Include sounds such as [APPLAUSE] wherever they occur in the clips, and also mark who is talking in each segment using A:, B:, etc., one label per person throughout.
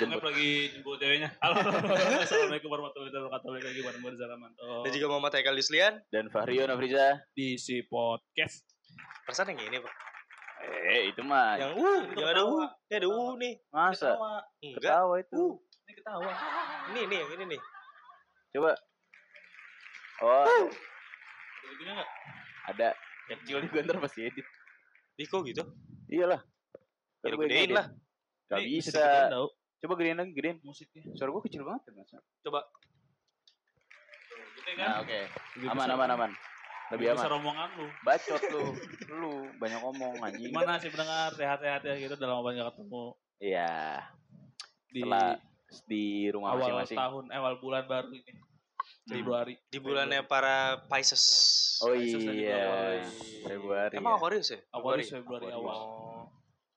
A: Anggap lagi jemput ceweknya.
B: [LAUGHS]
A: Halo. Assalamualaikum warahmatullahi wabarakatuh. Balik lagi bareng gue Rizal Ramanto.
C: Dan juga Muhammad Haikal Yuslian.
B: dan Fahrio Nafriza.
A: di si podcast.
C: Perasaan yang ini, Pak.
B: Eh, itu mah
C: Yang uh,
A: Itu
C: yang ada
A: ketawa.
C: uh, ini ada uh nih.
B: masa
A: Ketawa.
C: Enggak.
B: ketawa itu.
A: Ini ketawa.
C: Ini nih, yang ini nih.
B: Coba. Oh,
A: Ada gini nggak?
B: ada kecil nih gue ntar pasti edit.
C: Ih, kok gitu?
B: Iyalah.
C: Ya,
B: Ntar
C: lu
B: gua yang
C: gedein
B: edit.
C: lah.
B: Gak
A: Ini
B: bisa.
A: digedein tau.
B: Coba gedein lagi, gedein.
A: Musiknya.
B: Suara gue kecil banget ya, Mas.
A: Tuh, Gede kan?
B: Nah, oke.
A: Lebih
B: Aman,
A: besar.
B: aman, aman. Lebih
A: besar
B: aman.
A: omongan lu.
B: Bacot lu. Lu banyak ngomong anjing.
A: Gimana sih pendengar? Sehat-sehat ya gitu. Dalam lama nggak ketemu.
B: Iya,
A: Di
B: Setelah di rumah
A: awal
B: masing-masing. Hmm.
A: tahun, eh, awal bulan baru ini. Februari.
C: Di bulannya para Pisces.
B: Iya. Oh
A: Pisces dan juga
B: iya.
A: Aquarius.
B: Februari.
C: Emang
B: ya. [LAUGHS]
C: Aquarius ya?
A: Awal Februari awal.
C: Oh.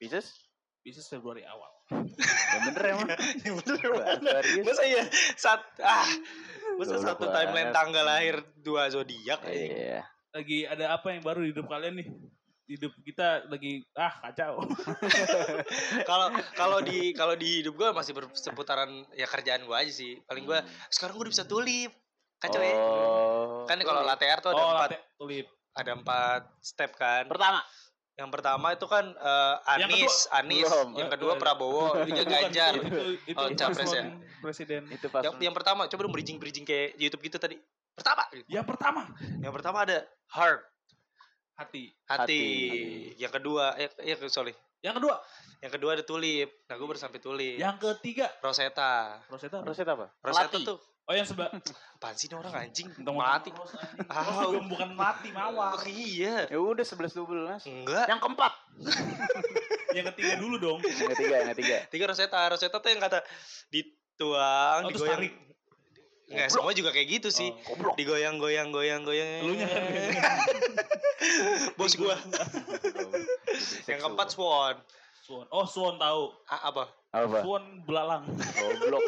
B: Pisces?
A: Bisnis Februari awal.
B: Ya bener emang.
C: Yang bener
B: Bahasa
C: mana?
B: Aquarius.
C: Masa iya? Sat ah. Masa
B: Goblok
C: satu
B: banget.
C: timeline tanggal lahir dua zodiak anjing.
B: Iya.
A: Lagi ada apa yang baru di hidup kalian nih? Hidup kita lagi ah kacau.
C: Kalau kalau di kalau di hidup gue masih berseputaran ya kerjaan gue aja sih. Paling gue sekarang gue udah bisa tulip. Kacau ya.
B: Hmm. Oh.
C: Kan kalau latte art tuh ada
A: oh,
C: empat
A: latte tulip.
C: ada empat step kan.
B: pertama
C: Yang pertama itu kan eh,
A: Yang
C: Anies, Anies.
B: Belum.
C: Yang kedua Prabowo,
A: [LAUGHS]
C: ketiga
A: Bukan, gitu.
C: Ganjar.
A: itu- itu- itu
C: Oh, capres ya.
A: paslon Presiden.
B: itu pas
C: Yang, yang pertama, coba dong bridging-bridging kayak YouTube gitu tadi. Pertama,
A: Yang pertama
C: yang pertama ada heart,
A: hati.
C: hati.
B: Hati.
C: Yang kedua, eh, ya sorry.
A: Yang kedua,
C: Yang kedua ada tulip. Nah, gue baru sampai tulip.
A: yang ketiga
C: Rosetta.
A: Rosetta.
B: Rosetta apa?
C: Rosetta
B: Melati.
C: tuh,
A: Oh yang sebelah
C: apaan sih ini orang
A: [LAUGHS]
C: anjing?
A: Entah mau
C: Melati.
A: Ros, anjing.
C: Ah.
A: Ros juga bukan mati mawar.
C: Oh, iya.
B: Ya udah 11 12.
A: Ya.
C: Enggak.
B: Yang keempat.
A: Yang ketiga dulu dong.
B: Yang ketiga, yang ketiga.
C: Tiga Rosetta. Rosetta tuh yang kata
A: Oh,
C: dituang,
A: terus
C: digoyang.
A: tarik. Oh.
C: Enggak, semua juga kayak gitu sih.
B: [LAUGHS] Goblok.
C: Digoyang, goyang, goyang, goyang.
A: Elunya kan.
C: [LAUGHS] Bos gue. Yang keempat Swan.
A: Swan. Oh Swan tahu.
C: A- apa?
B: apa?
A: Swan belalang.
B: Goblok.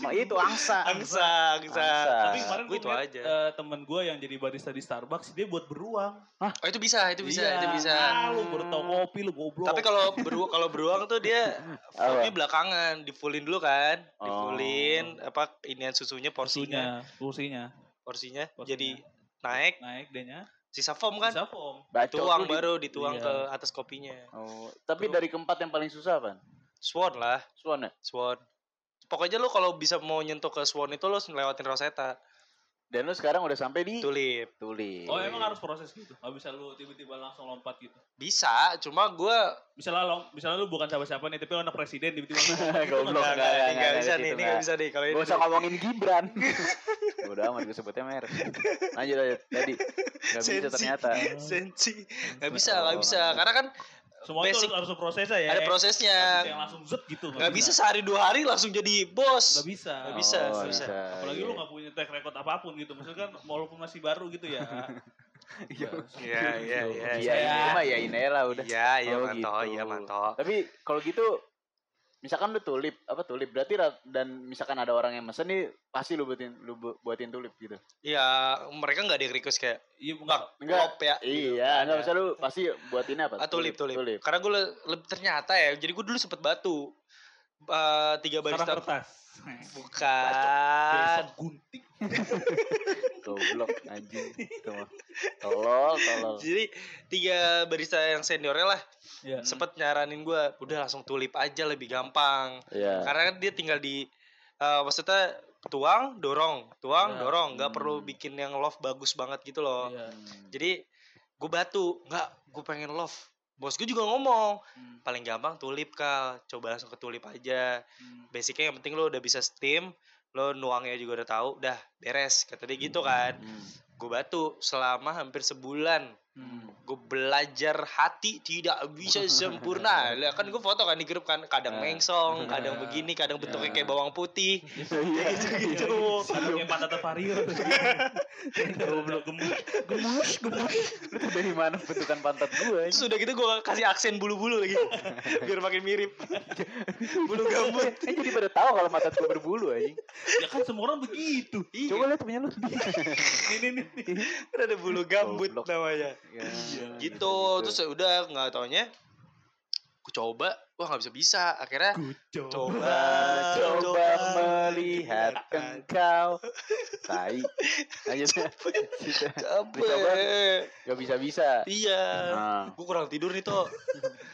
B: Ma Oh, itu angsa.
C: Angsa, angsa.
B: Angsa.
A: Tapi kemarin
C: Nah, Gua
A: gue
C: itu aja.
A: temen gue yang jadi barista di Starbucks dia buat beruang.
C: Oh itu bisa, itu bisa,
A: Iya.
C: itu bisa.
A: Ah, lu baru tau kopi lu goblok.
C: Tapi kalau beru kalau beruang tuh [LAUGHS] dia
B: Apa?
C: tapi belakangan, difulin dulu kan,
B: Oh.
C: difulin apa inian susunya porsinya,
A: kursinya, kursinya
C: porsinya,
A: Porsinya.
C: jadi naik
A: naik dehnya.
C: sisa foam kan,
A: Bisa foam.
B: Bacot lu di-
C: tuang baru dituang
A: Iya.
C: ke atas kopinya.
B: Oh, tapi dari keempat yang paling susah apa?
C: Swan lah,
B: Swan ya?
C: swan. Pokoknya lu kalau bisa mau nyentuh ke swan itu lu harus lewatin Rosetta,
B: Dan lu sekarang udah sampai di
C: tulip.
B: Tuli.
C: Iya.
A: Oh emang harus proses gitu. Gak bisa lu tiba-tiba langsung lompat gitu.
C: Bisa, cuma gua
A: Misalnya lo, misalnya lu bukan siapa-siapa nih, tapi lo anak presiden tiba-tiba.
B: [LAUGHS]
C: [LAUGHS]
B: Goblok, enggak,
C: nggak nggak,
B: enggak,
C: ini nggak
B: enggak, gitu,
C: bisa nih, ini
B: enggak.
C: nggak bisa nih kalau ini.
B: Gak usah ngomongin Gibran. Udah amat gue sebutnya merek. Lanjut lanjut. Jadi nggak bisa
C: Sensi.
B: ternyata.
C: [LAUGHS] Sensi. Nggak bisa,
B: Oh,
C: nggak bisa.
B: nggak bisa.
C: Karena kan
A: Semua itu
C: Basic.
A: harus, harus prosesnya ya.
C: ada prosesnya.
A: Nggak bisa yang langsung zet gitu.
C: Nggak bisa sehari dua hari langsung jadi bos.
A: Gak bisa.
C: Nggak bisa,
B: Oh,
C: nggak bisa.
A: Apalagi
B: iya.
A: lu gak punya track record apapun gitu. Maksudnya kan walaupun masih baru gitu ya.
B: Iya.
C: Iya, iya, iya.
B: Iya, ini mah ya ini lah udah.
C: Iya, iya
B: Oh,
C: mantap,
B: gitu.
C: iya mantap.
B: Tapi kalau gitu misalkan lu tulip apa tulip berarti ra- dan misalkan ada orang yang mesen nih pasti lu buatin lu bu- buatin tulip gitu.
C: Iya, mereka nggak ada yang request kayak
A: Iya enggak.
B: Enggak.
C: lop ya.
B: Iya,
C: nggak
B: enggak usah lu pasti buatinnya apa?
C: Ah, tulip, tulip. Karena gue lebih ternyata ya, jadi gue dulu sempet batu. Eh, tiga
A: Sarang
C: barista
A: kertas.
C: bukan
A: Besok gunting.
B: Goblok anjing. Itu mah. Tolol, tolol. Iya.
C: jadi tiga barista yang seniornya lah
A: Iya.
C: sempet nyaranin gue udah langsung tulip aja lebih gampang
B: Iya.
C: karena kan dia tinggal di eh, maksudnya tuang dorong
D: Ya.
C: tuang dorong nggak
B: Hmm.
C: perlu bikin yang love bagus banget gitu loh
D: Iya.
C: jadi gue batu nggak gue pengen love bos gue juga ngomong
D: Hmm.
C: paling gampang tulip kal coba langsung ke tulip aja
A: hmm,
C: basicnya yang penting lo udah bisa steam lo nuangnya juga udah tahu udah beres kata dia gitu kan
B: Hmm. [LAUGHS]
C: gue batu selama hampir sebulan
D: Hmm.
C: gue belajar hati tidak bisa sempurna Lah, kan gue foto kan di grup kan kadang
B: Ah.
C: mengsong kadang begini kadang bentuknya
B: Ya.
C: kayak bawang putih
B: Iya.
C: kayak gitu-gitu
A: Atau iya. kayak patah
C: [LAUGHS]
A: vario. Goblok gemuk.
B: Gemus, gemus. Lu tuh dari mana bentukan pantat gue?
C: Terus udah gitu gue kasih aksen bulu-bulu
B: [LAUGHS]
C: lagi biar makin mirip bulu gambut
B: Eh, jadi pada tahu kalau mata gue berbulu anjing.
A: Ya kan semua orang begitu.
B: Coba lihat punya lu.
C: Iya,
A: Ini nih.
C: Kan ada bulu gambut
B: Goblok. iya.
C: namanya
B: Ya,
C: gitu, terus ya udah nggak taunya gue coba wah nggak bisa bisa akhirnya
A: Kucok.
C: coba
B: Coba, coba melihat engkau Tai Lanjut Dicoba.
C: coba
B: Gak bisa-bisa
C: iya
B: Nah.
C: gue kurang tidur nih
B: [LAUGHS]
C: toh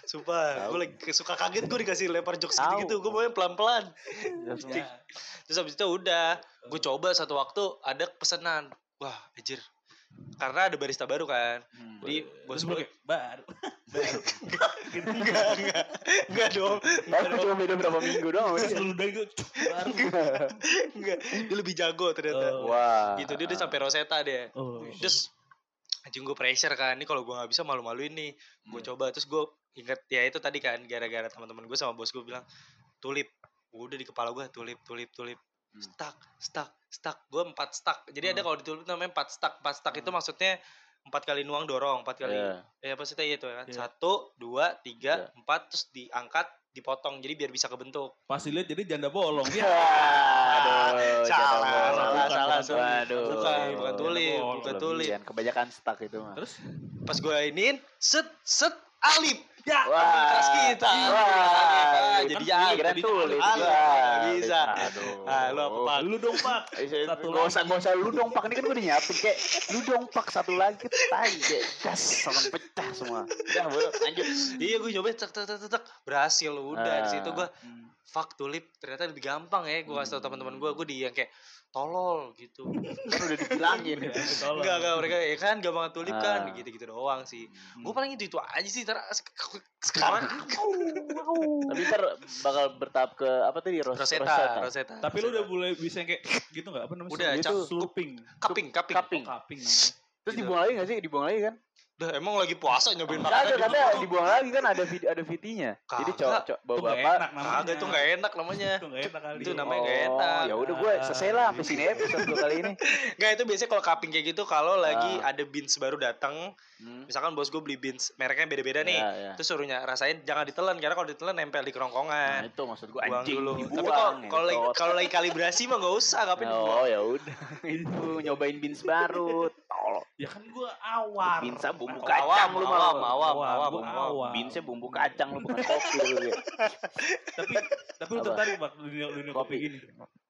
C: sumpah
B: Tahu.
C: gue lagi suka kaget gue dikasih lempar jokes gitu gitu
B: Tahu.
C: gue maunya pelan pelan
B: langsung.
C: terus habis itu udah gue coba satu waktu ada pesanan wah anjir karena ada barista baru kan
B: Hmm.
C: jadi
A: Terus
C: bos gue [LAUGHS]
A: gue baru. Gitu.
C: enggak enggak enggak dong
B: Tapi
C: [LAUGHS]
B: cuma beda berapa minggu doang sama
A: Terus
B: dia.
A: lu udah gue baru.
C: enggak dia lebih jago ternyata
A: Oh.
B: Wah
C: gitu dia udah sampai Rosetta deh
A: Oh.
C: terus anjing gue pressure kan ini kalau gue nggak bisa malu-maluin nih gue
B: Hmm.
C: coba terus gue inget ya itu tadi kan gara-gara teman-teman gue sama bos gue bilang tulip udah di kepala gue tulip tulip tulip
B: Hmm.
C: stuck stuck stuck gue empat stuck jadi ada kalau di tulip namanya empat stuck empat stuck itu maksudnya empat kali nuang dorong empat kali
B: Ya.
C: ya pasti itu ya kan
A: Iya.
C: satu dua tiga empat terus diangkat dipotong jadi biar bisa kebentuk
A: Pas dilihat jadi janda bolong.
B: Ya,
A: Ya.
B: aduh, jadang bola.
C: salah, salah,
B: Bukan,
C: salah,
B: bukan,
C: salah.
B: Aduh,
C: Bukan, bukan
B: Iya,
C: tulip,
B: Jadang
C: bukan
B: bola.
C: tulip.
B: Kelebihan, Kebanyakan stuck itu mah.
A: Terus
C: pas gue iniin set set alip ya
B: Wah. iya,
C: keras kita Iya,
B: Wah,
C: jadi
B: jadi
C: ya
B: kira tulip.
C: Aduh,
B: Wah,
C: bisa.
B: Aduh.
C: Ah, lu apa, Pak?
A: lu dong Pak.
B: Eh, saya-
A: Satu
B: nggak
A: lagi.
B: usah nggak usah lu dong pak ini kan gue udah nyiapin kayak lu dong pak satu lagi tai kayak gas sama pecah semua udah bro lanjut
C: iya gue nyoba tek tek tek tek, tek berhasil udah di situ
B: Ah.
C: gue fuck tulip ternyata lebih gampang ya gue kasih tau teman-teman gue gue di yang kayak tolol gitu
B: kan udah dibilangin
A: Ya, ditolong.
C: Iya. enggak enggak mereka ya kan gampang tulip kan
B: Ah.
C: gitu gitu doang sih gue
B: Hmm.
C: paling itu itu aja sih ntar se- sekarang [LAUGHS]
B: tapi ntar bakal bertahap ke apa tadi Ros
C: Rosetta Rosetta
A: Tapi lu udah mulai bisa yang kayak gitu nggak? Apa namanya?
C: Udah,
A: Itu
B: cap-
A: slurping.
C: kaping kaping
B: kaping
A: Oh, kaping namanya.
B: terus dibuang lagi nggak sih dibuang lagi kan
C: udah emang lagi puasa nyobain
B: nggak ada
C: makanan
B: kata dibuang lagi kan ada video ada videonya jadi
C: Kagak.
B: cowok cowok bawa
A: Itu nggak
B: bapak
A: enak namanya.
C: kagak itu nggak enak namanya
A: Itu nggak enak kali.
C: Itu namanya nggak enak.
B: ya udah gue selesai lah sampai sini episode dua kali ini
C: Enggak itu biasanya kalau cupping kayak gitu kalau lagi
B: Ah.
C: ada beans baru datang,
B: Hmm.
C: misalkan bos gue beli beans mereknya beda-beda nih.
B: Ya, ya.
C: Terus suruhnya rasain jangan ditelan karena kalau ditelan nempel
B: Nah,
C: di kerongkongan.
B: itu maksud gue
C: Buang
B: anjing
C: dulu.
B: dibuang
C: Tapi kalau kalau lagi
B: ngentot.
C: kalau lagi kalibrasi mah nggak usah, ngapain dibuang.
B: Oh ya udah [LAUGHS] itu nyobain beans baru. Tol.
A: Ya kan gue awar.
B: Binsa bumbu
A: Awar,
B: kacang lu malah.
C: awam, awam, awam,
A: gua
C: awam.
A: awam.
B: Beansnya bumbu kacang lu [LAUGHS] bukan kopi lu. ya.
A: Tapi tapi lu
B: Apa?
A: tertarik bak dunia dunia kopi
B: Kopi.
A: gini.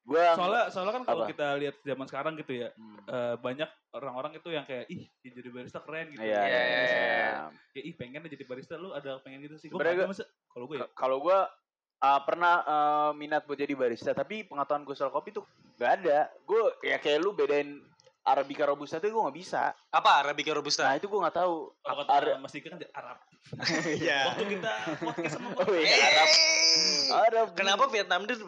B: Gua
A: Soalnya soalnya kan kalau
B: Apa?
A: kita lihat zaman sekarang gitu ya,
B: Hmm.
A: eh, banyak orang-orang itu yang kayak ih dia jadi barista keren gitu.
B: Iya.
C: Iya,
B: iya,
C: iya, iya.
A: Kayak ih pengen deh jadi barista lu ada pengen gitu sih. Gue
B: Sebenarnya
A: masa kalau gue
B: iya.
A: ya.
B: Kalau gua uh, pernah uh, minat buat jadi barista, tapi pengetahuan gue soal kopi tuh gak ada. Gue ya kayak lu bedain Arabica Robusta tuh gue gak bisa.
C: Apa Arabica Robusta?
B: Nah itu gue gak tahu.
A: Kalau
B: Ar- [LAUGHS]
A: kata Mas Dika kan dia Arab.
C: Iya.
A: Waktu kita podcast sama
B: Oh,
A: gue.
B: iya,
C: Eh,
B: Arab. Arab.
C: [LAUGHS] Kenapa Vietnam drip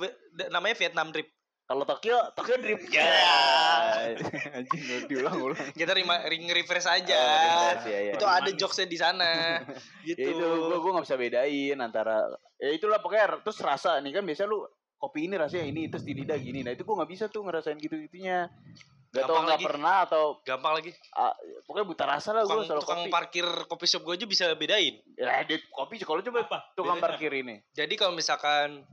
C: namanya Vietnam drip?
B: Kalau Tokyo, Tokyo drip.
C: Ya.
B: [LAUGHS] Anjing Iya, lu diulang-ulang.
C: Kita rima- ring refresh aja.
B: Oh,
C: itu
A: Manis.
C: ada jokesnya di
B: [LAUGHS]
C: sana.
B: ya
C: gitu.
B: itu gue gue nggak bisa bedain antara ya itulah pokoknya terus rasa nih kan biasanya lu kopi ini rasanya ini terus di lidah gini nah itu gue nggak bisa tuh ngerasain gitu gitunya Gak tau
C: Gampang
B: nggak
C: lagi.
B: pernah atau
C: Gampang lagi.
B: pokoknya buta rasa lah gue
C: Tukang,
B: soal
C: tukang
B: kopi
C: parkir kopi shop gue aja bisa bedain.
B: ya di kopi kalau coba
A: Apa?
B: tukang
A: Bedanya
B: parkir ini
C: Jadi kalau misalkan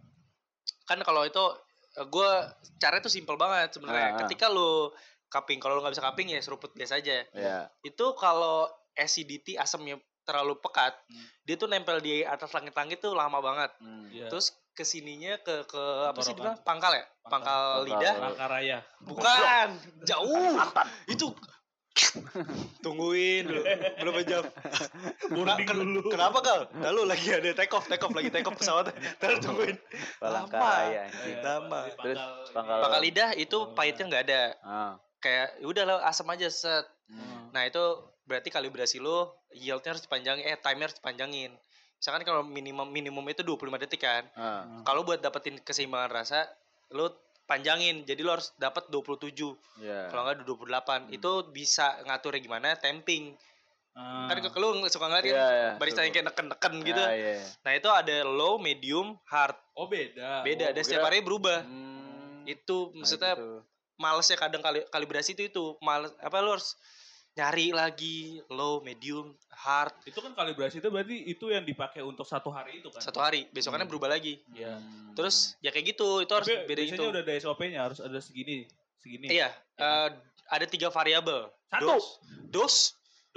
C: kan kalau itu gue caranya tuh simpel banget sebenarnya.
B: Ah, ah.
C: Ketika lu cupping, kalau lu nggak bisa cupping ya seruput biasa aja.
B: ya
C: Itu kalau acidity asamnya terlalu pekat,
A: Hmm.
C: dia tuh nempel di atas langit-langit tuh lama banget.
B: hmm.
A: [LAUGHS] Iya.
C: Terus kesininya ke ke apa sih
A: Tenggorokan.
C: dibilang pangkal ya? Pangkal,
B: Pangkal.
C: lidah.
A: Rangka Raya.
C: Bukan, jauh. Itu tungguin dulu berapa jam Nah,
A: Boarding
C: ken-
A: dulu.
C: kenapa kal lalu lagi ada take off take off lagi take off pesawat terus tungguin
B: Palang
C: Lama.
B: kaya anjing.
A: Iya,
C: Dama.
B: Terus
A: di pangkal-
B: pangkal-
C: bakal lidah itu pahitnya nggak ada
B: Ah.
C: kayak ya udah lah asam aja set
B: Hmm.
C: Nah itu berarti kalibrasi lo yieldnya harus dipanjangin, eh timer harus dipanjangin. Misalkan kalau minimum minimum itu 25 detik kan.
B: Ah.
C: Kalau buat dapetin keseimbangan rasa, lo panjangin. Jadi lo harus dapat 27.
B: Ya.
C: Kalau enggak 28. Itu bisa ngaturnya gimana temping.
B: Hmm.
A: Ah.
C: Kan ke- lo suka ngeliat kan barista yang kayak neken-neken gitu.
B: Iya, ya, Ah, iya.
C: Nah itu ada low, medium, hard.
A: Oh beda.
B: Oh,
C: Beda, ada setiap
B: kira-
C: hari berubah.
B: Hmm.
C: Itu
B: Nah,
C: maksudnya
B: itu.
C: malesnya kadang kali, kalibrasi itu itu males apa lu harus nyari lagi low medium hard
A: Itu kan kalibrasi itu berarti itu yang dipakai untuk satu hari itu kan.
C: satu hari besokannya berubah lagi
A: Iya.
B: Hmm.
C: terus ya kayak gitu itu harus
A: Tapi
C: beda
A: biasanya
C: itu
A: udah ada SOP-nya harus ada segini, segini.
C: iya eh, ada tiga variabel
A: Satu.
C: dos, dos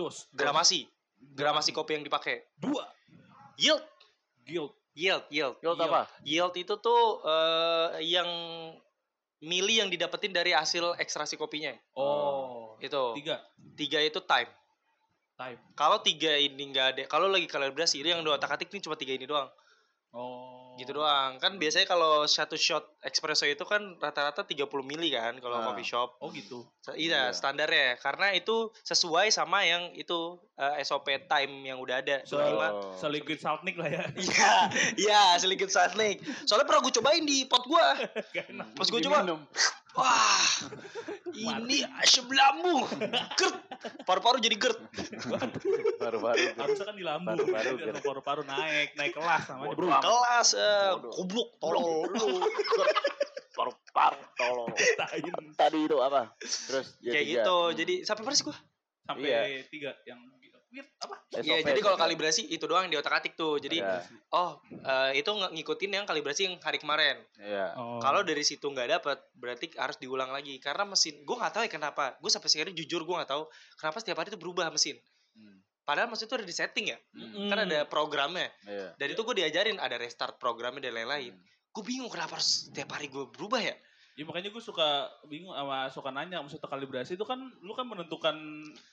A: Dos.
C: gramasi gramasi kopi yang dipakai
A: Dua.
C: yield
A: Guild.
C: yield yield
B: Yol apa?
C: yield itu tuh eh, yang mili yang didapetin dari hasil ekstraksi kopinya
A: Oh.
C: itu
A: Tiga.
C: tiga itu time
A: Time.
C: kalau tiga ini nggak ada kalau lagi kalibrasi itu yang dua otak atik ini cuma tiga ini doang
A: Oh.
C: gitu doang kan biasanya kalau satu shot espresso itu kan rata-rata 30 mili kan kalau
B: Ah.
C: coffee shop
A: Oh gitu.
C: Sa- iya
B: Iya.
C: standarnya karena itu sesuai sama yang itu eh, SOP time yang udah ada
A: So-
B: [LAUGHS]
C: minimal.
B: Oh.
A: Seliquid saltnik lah
B: [LAUGHS]
A: ya.
C: iya iya sedikit saat nih soalnya pernah gue cobain di pot gua
A: Gak enak.
C: pas gue coba
B: Diminum.
C: wah ini asam lambung gerd paru-paru jadi gerd
B: Baru-baru. itu.
A: Harusnya kan di lambung.
B: Paru-paru,
A: Biar
B: Ger.
A: Paru-paru naik, naik kelas namanya.
B: gitu. Waduh.
C: kelas eh,
B: Bodoh.
C: goblok tolol [LAUGHS]
B: Baru-baru tolong.
A: Tain.
B: Tadi itu apa? Terus ya
C: kayak
B: tiga.
C: gitu
B: Hmm.
C: jadi sampai persis gua
A: Sampai
B: Iya.
A: tiga yang Wih, apa?
B: SOP,
C: Iya, jadi kalau
B: SOP.
C: kalibrasi itu doang yang di otak atik tuh. Jadi
B: Iya.
C: oh eh, itu nge- ngikutin yang kalibrasi yang hari kemarin.
B: Iya.
A: Oh.
C: Kalau dari situ nggak dapat, berarti harus diulang lagi. Karena mesin, gue nggak tahu ya kenapa. Gue sampai sekarang jujur gue nggak tahu kenapa setiap hari itu berubah mesin.
B: Hmm.
C: Padahal mesin itu ada di setting ya.
B: Hmm.
C: Kan ada programnya.
B: Iya.
C: Dari itu gue diajarin ada restart programnya dan lain-lain.
B: Hmm.
C: Gue bingung kenapa harus setiap hari gue berubah ya.
A: Ya makanya gue suka bingung sama suka nanya maksudnya kalibrasi itu kan lu kan menentukan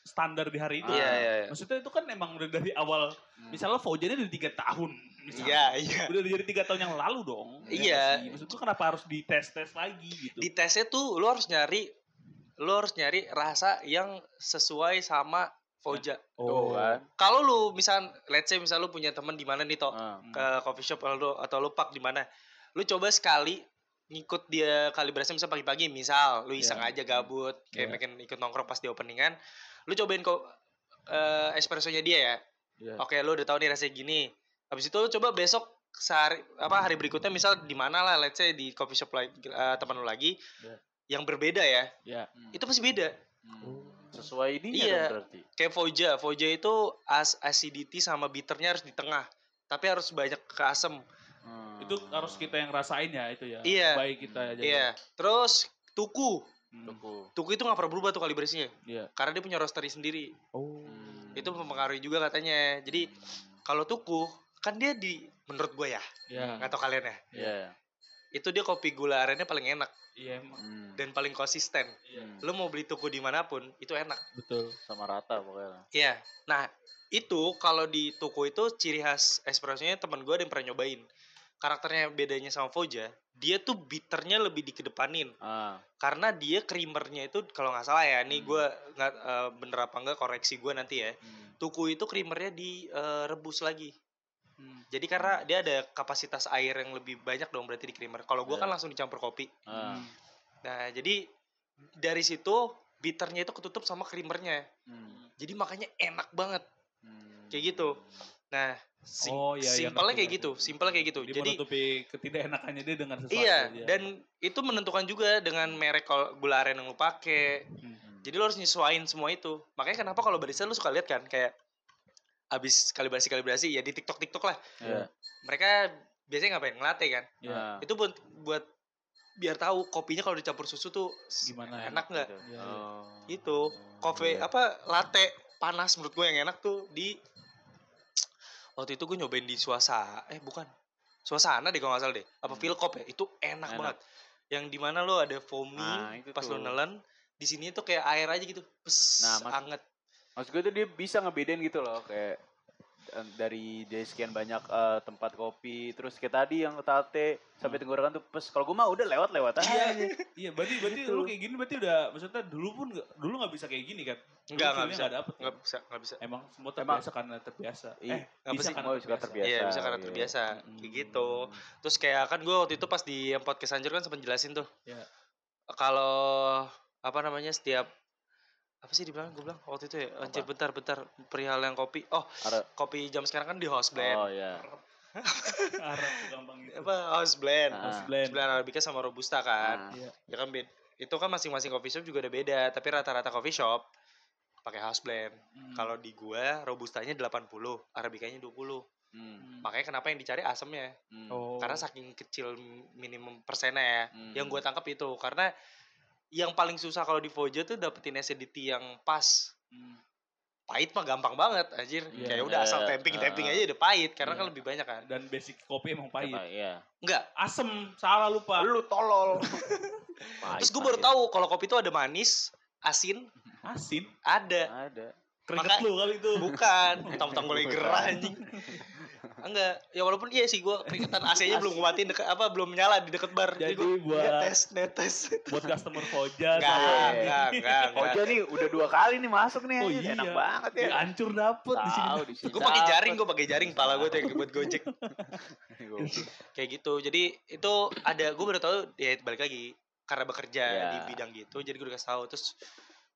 A: standar di hari itu.
C: Iya,
B: Ah.
C: iya, iya.
A: Maksudnya itu kan emang udah dari awal
B: Hmm.
A: misalnya Fauzannya dari tiga tahun. misalnya.
C: Iya, iya.
A: Udah dari tiga tahun yang lalu dong. ya nggak
C: Iya.
A: sih? Maksud gue kenapa harus dites tes lagi gitu?
C: Di tesnya tuh lo harus nyari lo harus nyari rasa yang sesuai sama Foja. Oh.
B: Tuh kan.
C: kalau lu misal let's say misal lu punya temen di mana nih toh
B: Ah.
C: ke coffee shop atau lu, atau lu pub di mana lu coba sekali ngikut dia kalibrasi misal pagi-pagi misal lu iseng aja gabut kayak
A: Iya.
C: pengen ikut nongkrong pas di openingan lu cobain kok eh espressonya dia ya
B: Iya.
C: oke lu udah tahu nih rasanya gini habis itu lu coba besok sehari apa hari berikutnya misal di mana lah let's say di coffee shop lagi eh, teman lu lagi
A: Iya.
C: yang berbeda ya
A: Iya.
C: itu pasti beda
B: Hmm. Sesuai ini
C: Iya.
B: dong berarti.
C: kayak Foja, Foja itu as acidity sama bitternya harus di tengah, tapi harus banyak ke asem.
B: Hmm.
A: Itu harus kita yang rasain ya itu ya.
C: Iya.
A: Baik kita aja.
C: Iya. Terus tuku,
A: Hmm.
B: Tuku.
C: tuku itu nggak pernah berubah tuh kalibrasinya,
A: Iya.
C: karena dia punya roastery sendiri.
A: Oh.
B: Hmm.
C: Itu mempengaruhi juga katanya. Jadi kalau tuku kan dia di, menurut gue ya,
A: Iya.
C: nggak tau kalian ya,
B: Iya.
C: itu dia kopi gula arennya paling enak
A: Iya emang.
B: Hmm.
C: dan paling konsisten.
B: Hmm.
C: Lo mau beli tuku dimanapun itu enak.
A: Betul.
B: Sama rata pokoknya.
C: Iya. Nah, itu kalau di Tuku itu ciri khas espressonya teman gue ada yang pernah nyobain. Karakternya bedanya sama Foja, dia tuh bitternya lebih dikedepanin
B: Ah.
C: karena dia creamernya itu kalau nggak salah ya,
A: Hmm.
C: nih gue nggak eh, bener apa nggak koreksi gue nanti ya.
B: Mm.
C: Tuku itu creamernya direbus lagi.
A: Hmm.
C: Jadi karena dia ada kapasitas air yang lebih banyak dong berarti di creamer. Kalau gue kan
B: Iya.
A: Ya.
C: langsung dicampur kopi.
B: Ah.
C: Nah, jadi dari situ bitternya itu ketutup sama creamernya.
B: Hmm.
C: Jadi makanya enak banget.
B: Hmm.
C: Kayak gitu. Nah, sim
A: Oh, iya, iya,
C: simpelnya
A: ngerti,
C: kayak
A: ngerti.
C: gitu, simpelnya kayak gitu.
A: Dia
C: Jadi
A: menutupi ketidakenakannya dia dengan sesuatu. ya.
C: iya,
A: dia.
C: dan itu menentukan juga dengan merek kol- gula aren yang lu pakai.
B: Hmm.
C: Jadi lu harus nyesuaiin semua itu. Makanya kenapa kalau barista lu suka lihat kan kayak abis kalibrasi-kalibrasi ya di TikTok-TikTok lah.
B: Iya.
C: Mereka biasanya ngapain? Ngelatih kan.
A: Iya.
B: Ah.
C: Itu buat buat biar tahu kopinya kalau dicampur susu tuh s-
A: gimana?
C: enak nggak?
B: Gitu.
A: Iya,
B: Oh.
C: Gitu. Kopi
B: Iya.
C: apa latte panas menurut gue yang enak tuh di waktu itu gue nyobain di suasana eh bukan suasana deh kalau nggak salah deh apa
B: Hmm.
C: Philcop ya itu enak,
B: Enak.
C: banget yang dimana lo ada foamy
B: Nah, itu
C: pas lo
B: tuh.
C: nelen di sini tuh kayak air aja gitu pes
B: Nah, mak-
C: anget
B: Maksud gue tuh dia bisa ngebedain gitu loh kayak eh, dari dari sekian banyak eh, tempat kopi terus kayak tadi yang tate sampai
C: Hmm.
B: tenggorokan tuh pes kalau gue mah udah lewat lewat aja
A: Iya, berarti berarti
B: Gitu.
A: lu kayak gini berarti udah maksudnya dulu pun nggak- dulu nggak bisa kayak gini kan? Dulu
C: Nggak, nggak
A: feelnya
C: bisa.
A: nggak dapet. kan?
C: nggak bisa nggak bisa
A: Emang semua
B: Emang-
A: terbiasa karena terbiasa.
B: Ih,
A: Eh, hmm.
C: nggak
A: bisa
C: sih,
A: karena
B: mau kan? Oh, suka terbiasa.
C: Iya bisa karena
B: iya.
C: terbiasa
A: Mm-mm.
C: kayak gitu. Terus kayak kan gue waktu itu pas di yang podcast hancur kan sempat jelasin tuh.
A: Iya.
C: Kalau apa namanya setiap apa sih dibilang gue bilang waktu itu ya anjir bentar bentar perihal yang kopi oh
B: Ara-
C: kopi jam sekarang kan di house blend
B: oh ya
A: Arab tuh gampang gitu.
C: apa house blend
B: Ah.
A: Mas
C: house
A: Blend. Iya.
C: blend arabica sama robusta
B: Nah,
C: kan
A: Ah.
C: ya kan bed itu kan masing-masing coffee shop juga ada beda tapi rata-rata coffee shop pakai house blend
A: Hmm.
C: kalau di gua robustanya 80 arabikanya 20
B: hmm,
C: makanya kenapa yang dicari asamnya
B: hmm,
A: Oh.
C: karena saking kecil minimum persennya ya
B: hmm.
C: yang gue tangkap itu karena yang paling susah kalau di Vojo tuh dapetin acidity yang pas
A: Hmm.
C: pahit mah gampang banget anjir
A: Iya,
C: kayak udah
B: iya,
C: asal
B: iya.
C: temping temping
B: Ah.
C: aja udah pahit karena
A: Iya.
C: kan lebih banyak kan
A: dan basic kopi emang
B: Apa,
A: pahit.
B: iya.
C: enggak
A: Asem, salah lupa.
C: lu tolol
B: Pahit,
C: terus gue baru
B: pahit.
C: tahu kalau kopi tuh ada manis asin
A: Asin,
C: ada
B: ada
A: keringet
C: Maka-
A: lu kali
C: [LAUGHS]
A: itu. [LAUGHS]
C: bukan tentang boleh gerah
B: Bukan.
C: anjing enggak ya walaupun iya sih gue keringetan AC-nya belum nguatin deket apa belum nyala di deket bar
A: Jadi
C: gua
A: buat-
C: netes netes
A: [LAUGHS] Buat customer Foja
C: enggak
A: sama ini.
C: enggak enggak enggak.
B: Oja Oh, nih udah dua kali nih masuk nih
A: Oh
B: anjir.
A: iya.
B: enak banget ya
A: Dihancur dapet di sini.
B: Tahu, di sini
C: gue pakai
B: dapet.
C: jaring gue pakai jaring pala gue tuh yang buat gojek
B: Goblok.
C: [LAUGHS] kayak gitu jadi itu ada gue baru tahu ya balik lagi karena bekerja
B: Ya.
C: di bidang gitu jadi gue udah kasih tahu terus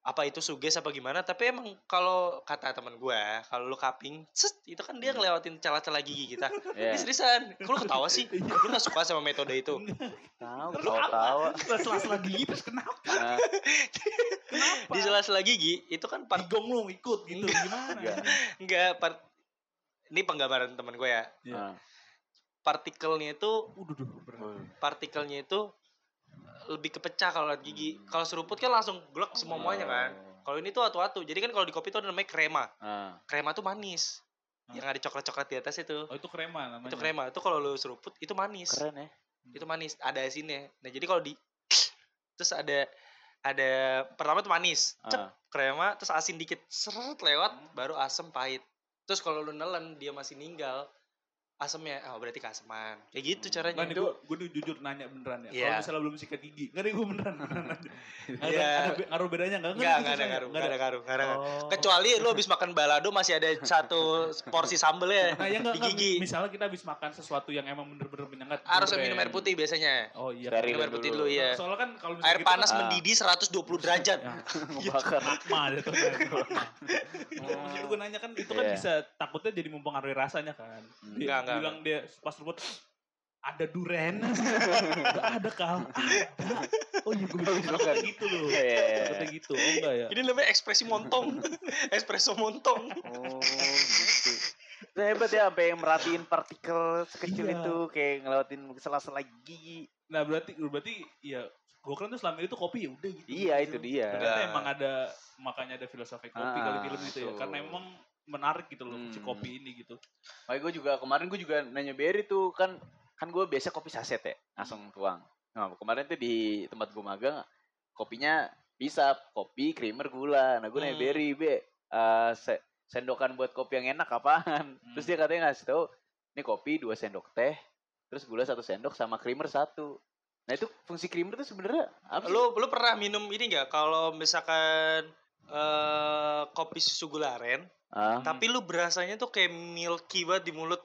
C: apa itu suges apa gimana tapi emang kalau kata teman gue kalau lu kaping set, itu kan dia ngelewatin celah-celah gigi kita
B: Iya.
C: ini seriusan kok lu ketawa [LAUGHS] sih lu gak suka sama metode itu
B: tahu
A: Lu
B: tahu tahu
A: Selas-selas gigi terus kenapa?
B: Nah,
A: Kenapa?
C: di celah-celah gigi itu kan part
A: Digong lu ikut gitu
B: enggak.
A: gimana?
C: enggak part ini penggambaran teman gue ya
A: Iya.
B: Nah,
C: partikelnya itu
A: Udah, udah, berat.
B: wuh.
C: partikelnya itu lebih kepecah kalau lihat gigi. Kalau seruput kan langsung glek semua muanya kan. Kalau ini tuh atu-atu. Jadi kan kalau di kopi tuh ada namanya krema.
B: Nah,
C: Krema tuh manis. Yang ada coklat-coklat di atas itu.
A: Oh itu krema namanya.
C: Itu krema. Itu kalau lu seruput itu manis.
B: keren ya
C: Itu manis. Ada asinnya. Nah, jadi kalau di [SNIFFS] terus ada ada pertama tuh manis. Cep,
B: Ah. [LAUGHS]
C: krema terus asin dikit. Seret lewat baru asem pahit. Terus kalau lu nelen dia masih ninggal asemnya oh berarti keaseman kayak gitu
B: Hmm.
C: caranya
A: Nggak nih, gue, gue nih jujur nanya beneran ya.
C: Iya.
A: Kalau misalnya belum sikat gigi, nggak nih gue
C: [LAUGHS]
A: beneran. beneran. Nggak ada,
C: Iya.
A: ada be- ngaruh bedanya nggak?
C: Enggak,
A: nih,
C: enggak ada
A: susahnya.
C: ngaruh, enggak ada ngaruh, enggak ada ngaruh.
A: Oh.
C: Kecuali lu habis makan balado masih ada satu porsi sambelnya
A: Nah, ya nggak
C: di
A: nggak,
C: gigi.
A: Misalnya kita habis makan sesuatu yang emang bener-bener menyengat.
C: Harus
A: bener.
C: minum air putih biasanya.
A: Oh iya.
B: Steril
C: Minum air putih dulu,
A: Iya.
C: iya.
A: Soalnya kan kalau misalnya
C: Air
A: gitu kan
C: panas
B: Ah.
C: mendidih 120 derajat.
A: Ya.
B: ngebakar
A: Magma ada tuh. gitu.
C: [LAUGHS]
A: Oh, Maksud gue nanya kan itu kan
B: Iya.
A: bisa takutnya jadi mempengaruhi rasanya kan.
B: Hmm.
A: Dia
C: Nggak, nggak,
A: Bilang dia pas rumput ada
C: [LAUGHS]
A: duren. Enggak ada kal. Ada. Oh iya gue bilang takutnya gitu loh.
B: Iya, iya, iya.
A: Takutnya gitu. Oh enggak ya.
C: Ini namanya ekspresi montong. [LAUGHS] Espresso montong.
B: Oh gitu. Itu hebat ya sampai merhatiin partikel sekecil
A: Iya.
B: itu kayak ngelewatin sela-sela gigi.
A: Nah berarti berarti ya gue kira tuh selama itu kopi ya udah gitu.
B: Iya itu dia.
A: Ternyata
C: Nah.
A: emang ada makanya ada filosofi kopi
B: Ah,
A: kali film itu ya
B: betul.
A: karena emang menarik gitu loh si
B: Hmm.
A: kopi ini gitu.
B: Makanya gue juga kemarin gue juga nanya Berry tuh kan kan gue biasa kopi saset ya langsung tuang. Nah kemarin tuh di tempat gue magang kopinya bisa kopi creamer gula. Nah gue nanya
C: Hmm.
B: Berry be eh, se- sendokan buat kopi yang enak apaan?
A: Hmm.
B: Terus dia katanya ngasih tahu ini kopi dua sendok teh terus gula satu sendok sama creamer satu. Nah itu fungsi creamer tuh sebenarnya apa? sih?
C: Lu lu pernah minum ini enggak kalau misalkan eh kopi susu gula aren,
B: Ah.
C: tapi lu berasanya tuh kayak milky banget di mulut.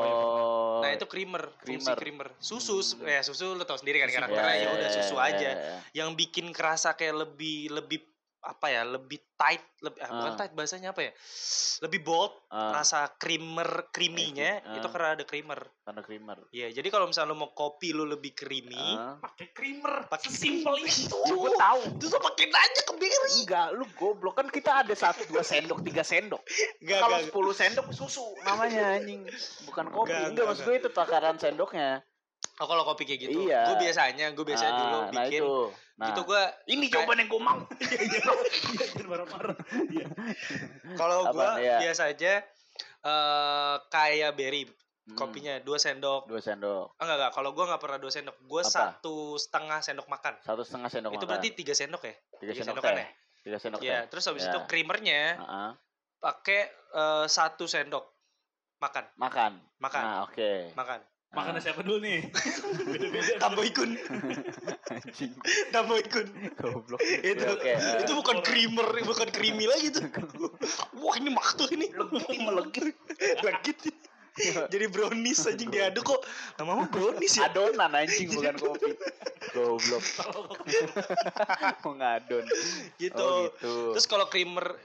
B: Oh.
C: Nah, itu creamer, fungsi
B: creamer.
C: creamer. Susu,
B: Hmm.
C: ya susu lu tau sendiri kan
A: Susu.
C: karakternya
A: Ya,
C: ya udah susu aja.
B: ya.
C: yang bikin kerasa kayak lebih lebih apa ya lebih tight lebih ah, bukan
B: Ah.
C: tight bahasanya apa ya lebih bold
B: Ah,
C: rasa creamer creaminya
B: Ah.
C: itu karena ada creamer
B: karena creamer.
C: ya jadi kalau misalnya lu mau kopi lu lebih creamy
B: Ah.
A: Pakai creamer,
C: Pakai
A: simpel
C: [LAUGHS]
A: itu.
B: Ya, gua tahu.
C: terus lu pakein aja ke berry
B: Enggak, lu goblok kan kita ada satu dua sendok tiga sendok.
C: enggak
B: Kalau
C: enggak
B: sepuluh sendok susu namanya anjing, bukan kopi.
C: Enggak,
B: Enggak,
C: enggak,
B: maksud gue itu takaran sendoknya.
C: oh, kalau kopi kayak gitu
B: Iya.
C: gue biasanya gue biasanya
B: Ah,
C: dulu
B: nah
C: bikin
B: itu. Nah,
C: gitu gue
B: ini jawaban yang gue
A: [LAUGHS]
B: mau.
A: Iya, Jangan marah-marah.
C: kalau
B: Apa,
C: gue
B: iya.
C: biasa aja eh kayak berry
B: Hmm,
C: kopinya dua sendok
B: dua sendok
C: ah, enggak enggak kalau gue nggak pernah dua sendok gue
B: Apa?
C: satu setengah sendok makan
B: satu setengah sendok
C: itu
B: makan.
C: berarti tiga sendok ya
B: tiga
C: tiga
B: sendok
C: sendokan
B: teh tiga sendok
C: ya
B: teh
C: terus habis
B: Ya.
C: itu creamernya
B: Heeh.
C: pakai eh, satu sendok makan
B: makan
C: makan
B: nah oke
C: makan
B: Nah,
A: Makannya siapa dulu
B: [LAUGHS]
A: nih? Beda-beda.
C: tamboikun
B: anjing
C: tamboikun
B: goblok
C: [LAUGHS] itu
B: Oke, oke, eh.
C: itu bukan creamer bukan creamy lagi tuh wah ini maktuh ini
B: Legit. [LAUGHS]
C: legit jadi brownies anjing diaduk kok nama-nama brownies ya
B: adonan anjing bukan kopi goblok
C: [LAUGHS] Oh,
B: mau ngadon
C: gitu.
B: oh gitu
C: terus kalau creamer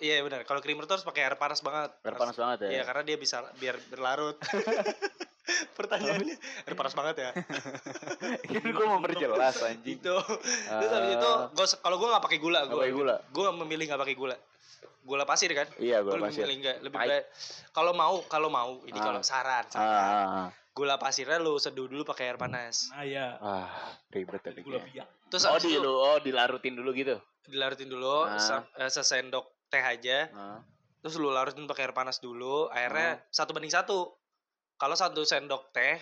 C: iya benar kalau creamer tuh harus pakai air panas banget
B: Biar panas banget ya
C: Iya karena dia bisa biar
B: [LAUGHS]
C: berlarut pertanyaannya air panas banget ya
B: ini gue Kan mau perjelas anjing
C: gitu terus habis itu gua se- kalau gue nggak pakai gula
B: eh, Nggak
C: gue
B: pakai gula?
C: gue memilih nggak pakai gula gula pasir kan
B: iya gue
C: Gua lebih
B: pasir
C: milih nggak lebih
B: Pahit.
C: baik kalau mau kalau mau ini
B: Ah.
C: kalau saran
B: ah,
C: saran
B: ah, ah.
C: gula pasirnya lu seduh dulu pakai air panas
A: Nah ya.
B: Wah, ah. ribet tadi
A: Gula
B: kayaknya.
A: biak.
C: terus
B: oh
C: habis
B: di
C: itu
B: lu oh dilarutin dulu gitu
C: dilarutin dulu
B: Ah.
C: sa- eh, sesendok teh aja
B: Ah,
C: terus lu larutin pakai air panas dulu
B: Hmm.
C: airnya satu banding satu kalau satu sendok teh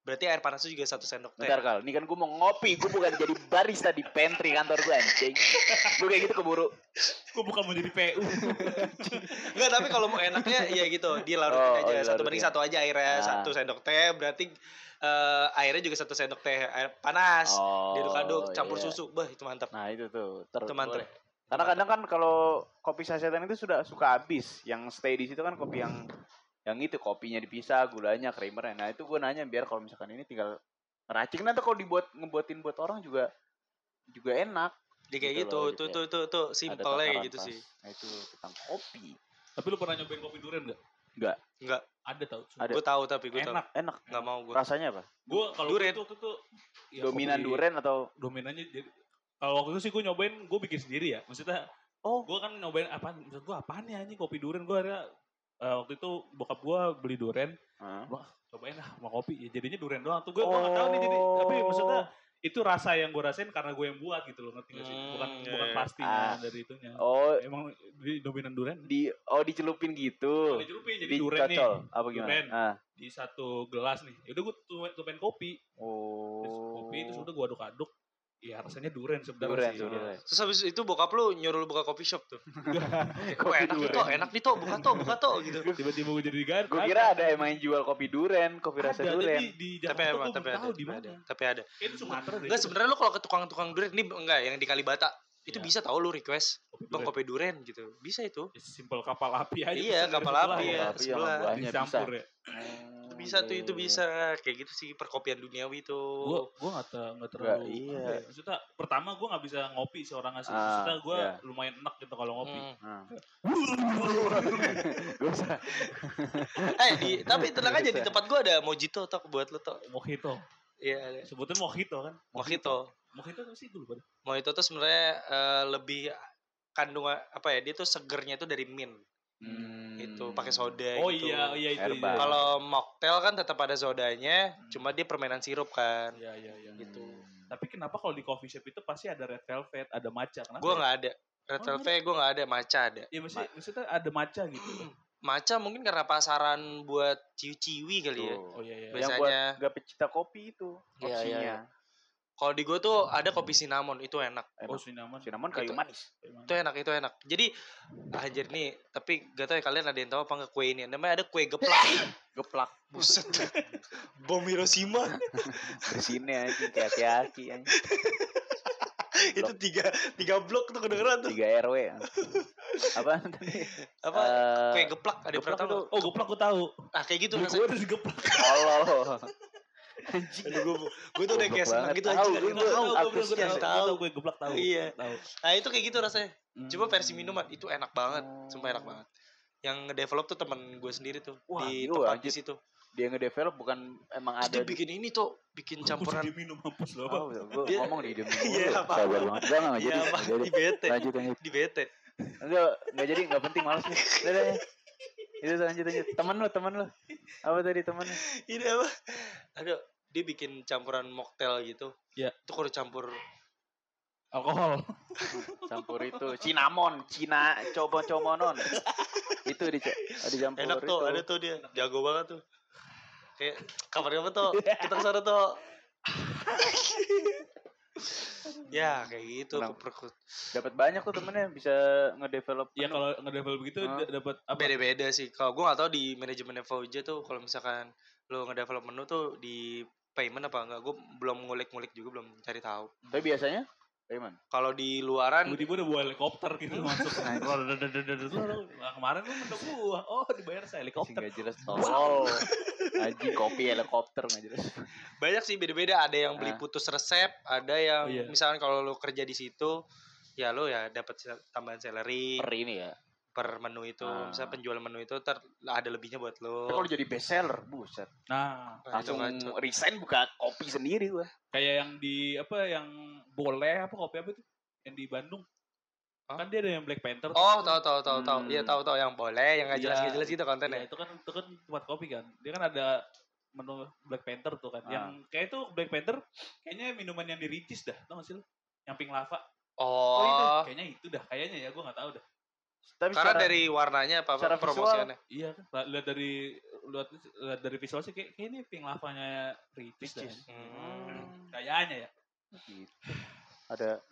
C: berarti air panasnya juga satu sendok teh
B: bentar kal ini kan gue mau ngopi gue bukan jadi barista di pantry kantor gue anjing gue kayak gitu keburu
A: Gue bukan mau jadi PU.
C: Enggak, tapi kalau
B: [LAUGHS]
C: mau enaknya ya gitu,
B: Oh, oh,
C: dilarutin aja. satu
B: dilarutin
C: banding
B: ya.
C: satu aja airnya,
B: Ah.
C: satu sendok teh, berarti eh, airnya juga satu sendok teh air panas.
B: oh
C: Diaduk-aduk, campur
B: iya.
C: susu. Bah, itu mantap.
B: nah itu tuh ter-
C: Itu mantap.
B: boleh. Karena kadang kan kalau kopi sasetan itu sudah suka habis. Yang stay di situ kan kopi yang yang itu kopinya dipisah, gulanya, creamernya. Nah, itu gue nanya biar kalau misalkan ini tinggal ngeracik nanti kalau dibuat ngebuatin buat orang juga juga enak.
C: Jadi kayak
B: Gitu
C: gitu,
B: loh,
C: itu
B: gitu
C: itu itu itu simpelnya kayak gitu sih.
B: Nah, itu tentang kopi.
A: Tapi lu pernah nyobain kopi durian gak?
B: Nggak.
C: Nggak.
A: Ada tau.
B: Ada.
C: Gue tahu tapi gue tahu.
A: Enak.
B: Enak.
C: Enggak mau gue.
B: Rasanya apa?
A: Gue kalau
C: Durian.
A: itu waktu itu ya,
B: Dominan
A: kopi-
B: durian atau
A: Dominannya jadi kalau waktu itu sih gue nyobain, gue bikin sendiri ya. Maksudnya,
B: Oh.
A: gue kan nyobain apa? Maksud gue apaan ya anjing kopi durian? Gue ada eh, waktu itu bokap gue beli durian,
B: Hah?
A: cobain lah mau kopi. Ya jadinya durian doang. Tuh gue gak tahu nih jadi.
C: Oh.
A: Tapi maksudnya itu rasa yang gue rasain karena gue yang buat gitu loh ngerti gak sih? Bukan
C: Hmm,
A: bukan
C: iya.
A: pastinya
B: Ah.
A: dari itunya.
B: Oh,
A: Emang di dominan durian.
B: di oh dicelupin gitu.
A: Dicelupin jadi durian nih
B: Dicocol apa gimana?
A: Durian.
B: Ah.
A: di satu gelas nih. Ya Yaudah gue tumpain kopi,
B: Oh.
A: terus kopi terus udah gue aduk-aduk. Ya rasanya durian
B: durian,
A: sebenarnya sih. [LAUGHS]
B: durian.
C: Terus habis itu bokap lu nyuruh lu buka coffee shop tuh. Kok enak nih
B: durian.
C: toh, enak nih toh, buka toh, buka toh gitu.
A: [LAUGHS] Tiba-tiba gue jadi diganti.
B: Gue kira ada emang yang jual kopi duren, kopi
A: ada,
B: rasa
A: ada di,
B: duren.
A: di
C: Iya, Tapi
A: Jakarta
C: emang,
A: gue
C: tapi
A: belum
C: ada,
A: tahu di
C: tapi ada.
A: mana.
C: Tapi ada.
A: Kayak di Sumatera deh.
C: Enggak sebenarnya lu kalau ke tukang-tukang durian ini enggak yang di Kalibata itu
A: Iya.
C: bisa tahu lu request
A: Kopi
C: bang
A: durian.
C: kopi durian gitu bisa itu
A: Ya, Simpel kapal api aja.
C: Iya,
A: pesan dari
C: kapal
A: sebelah Iya.
C: api
A: ya.
C: ya.
B: Tapi yang
C: sebelah.
B: buahnya bisa.
A: Dicampur ya.
C: itu bisa tuh itu bisa kayak gitu sih perkopian
A: Gue
C: duniawi tuh Hmm.
A: gue nggak ter- nggak terlalu.
B: iya.
A: apa ya, Maksudnya pertama gue nggak bisa ngopi seorang asli.
B: Ah,
A: Maksudnya gue
B: iya.
A: lumayan enak gitu kalau ngopi.
C: Hmm.
B: Gue bisa.
C: eh di,
A: [LAUGHS]
C: tapi tenang aja di
A: Iya.
C: tempat gua ada mojito tok buat lu tok
A: Mojito.
C: iya ada.
A: Sebutnya mojito kan.
C: mojito
A: Mojito apa sih dulu?
C: mojito tuh sebenarnya eh, lebih kandungan apa ya dia tuh segernya tuh dari mint itu pakai soda
A: Oh
C: gitu.
A: iya, oh iya itu.
B: Herbal.
A: iya.
C: kalau mocktail kan tetap ada sodanya cuma dia permainan sirup kan
A: Iya, iya, iya.
C: gitu
A: Tapi kenapa kalau di coffee shop itu pasti ada red velvet, ada matcha? Kenapa? ya?
C: gua nggak ada red
A: Oh,
C: velvet gua nggak ada maca ada
A: Ya maksudnya, maksudnya ada matcha gitu.
C: maca mungkin karena pasaran buat ciwi-ciwi kali ya
A: Oh iya iya.
B: Yang buat
C: Biasanya-
B: gak pecinta kopi itu
C: Iya, iya, iya.
B: opsinya.
C: kalau di gua tuh ada kopi cinnamon itu enak
A: Oh
B: Enak.
A: cinnamon. ya?
B: Cinnamon kayu
C: Itu-
B: manis.
A: Emang.
C: itu enak itu enak jadi anjir nih tapi gak tau ya kalian ada yang tahu apa nggak kue ini namanya ada kue [LAUGHS] geplak
B: Geplak
C: buset bom Hiroshima
B: bersinnya anjing kayak aki-aki anjing.
C: itu tiga tiga blok tuh kedengeran tuh
B: 3 RW. Apa tadi?
C: apa
B: Eh,
C: kue geplak ada yang pernah
B: geplak
C: tahu
B: itu-
A: Oh geplak gue tahu.
C: nggak? ah kayak gitu
A: Gue
C: rasanya
A: udah digeplak.
C: [LAUGHS]
B: Tolol.
C: gue gue tuh udah
B: Goblok
C: kayak seneng
B: banget.
C: gitu
B: Tahu,
C: anjing
B: gue-
C: nggak
B: gue-
C: tahu, gua
B: aku
C: belum
B: sih
C: pernah
B: yang
C: tahu
A: Gue geplak tahu.
C: Iya.
A: Tahu.
C: nah itu kayak gitu rasanya cuma versi
B: Hmm.
C: minuman itu enak banget sumpah enak
B: Oh.
C: banget yang ngedevelop tuh teman gue sendiri tuh
B: Wah,
C: di
B: gila,
C: tempat di
B: anjir.
C: situ
B: Dia ngedevelop bukan emang
C: terus
B: ada
C: dia
B: di
C: bikin ini tuh bikin campuran
A: Gue minum mampus loh.
B: Oh,
A: Bang.
B: gue
C: Dia-
B: ngomong di demi
C: Iya,
B: dulu.
C: apa?
B: Sabar banget. Gua enggak jadi.
C: Iya, apa?
B: nggak jadi.
C: di bete
B: Lanjut lanjut.
C: di bete
B: Enggak, enggak jadi, enggak penting males nih. Udah, udah, udah. Itu lanjut lanjut. Temen lu, temen lu. Apa tadi temen lu?
C: ini apa aduh dia bikin campuran mocktail gitu
A: Iya.
C: itu kalau campur
A: Alkohol.
B: Campur itu cinnamon, Cina, coba comonon. Itu di dicampur
C: enak tuh
B: itu.
C: ada tuh dia jago banget tuh Kayak kapan-kapan
B: [LAUGHS]
C: tuh kita kesana tuh. [LAUGHS] ya kayak gitu
B: Kenapa?
C: perkut
B: Dapat banyak kok temennya bisa ngedevelop.
A: Ya
C: Iya,
A: kalau ngedevelop begitu
B: Hah?
A: d- dapat apa?
C: beda-beda sih kalau gue gak tahu di manajemen Fauja tuh kalau misalkan lo ngedevelop menu tuh di payment apa enggak gue belum ngulik-ngulik juga belum cari tahu
B: Tapi biasanya eh, Raymond.
C: kalau di luaran
A: Tiba-tiba udah buat helikopter gitu
C: Iya.
A: masuk. Nah, kemarin lu mendok gua. Oh, dibayar saya helikopter.
C: Iya.
B: Enggak jelas tolol. Anjing kopi helikopter enggak jelas.
C: banyak sih beda-beda ada yang beli
B: Ah. Oh,
C: putus resep ada yang
A: Iya.
C: misalkan kalau lo kerja di situ ya lo ya dapat sel- tambahan salary
B: Per ini ya.
C: per menu itu
B: Ah.
C: misalnya penjualan menu itu ter ada lebihnya buat
B: Tapi Kalau
C: lo
B: jadi best seller, buset.
A: Nah,
B: Langsung resign buka kopi sendiri gua.
A: kayak yang di apa yang boleh apa kopi apa itu yang di Bandung.
C: Hah?
A: Kan dia ada yang Black Panther. tuh.
C: oh tahu tahu tahu tahu iya
B: Hmm.
C: tahu tahu yang boleh yang nggak jelas
A: Iya.
C: nggak jelas gitu
A: Iya,
C: kontennya
A: itu kan itu kan tempat kopi kan. Dia kan ada menu Black Panther tuh kan.
B: Ah.
A: Yang kayak itu Black Panther kayaknya minuman yang dirincis dah. Tau gak sih lu? Yang pink lava. Oh, itu.
C: oh
A: Kayaknya itu dah. Kayaknya ya gua gak tahu dah.
B: Tapi
C: karena
B: iya. secara-
C: dari warnanya apa,
B: secara
C: apa
B: visual.
C: promosiannya
A: Iya kan. Lah, Lihat dari lihat, lihat dari visual sih kayak, kayak ini pink lavanya ricis dah.
B: Ricis.
C: Hmm.
A: Kayaknya ya.
B: Gitu. Ada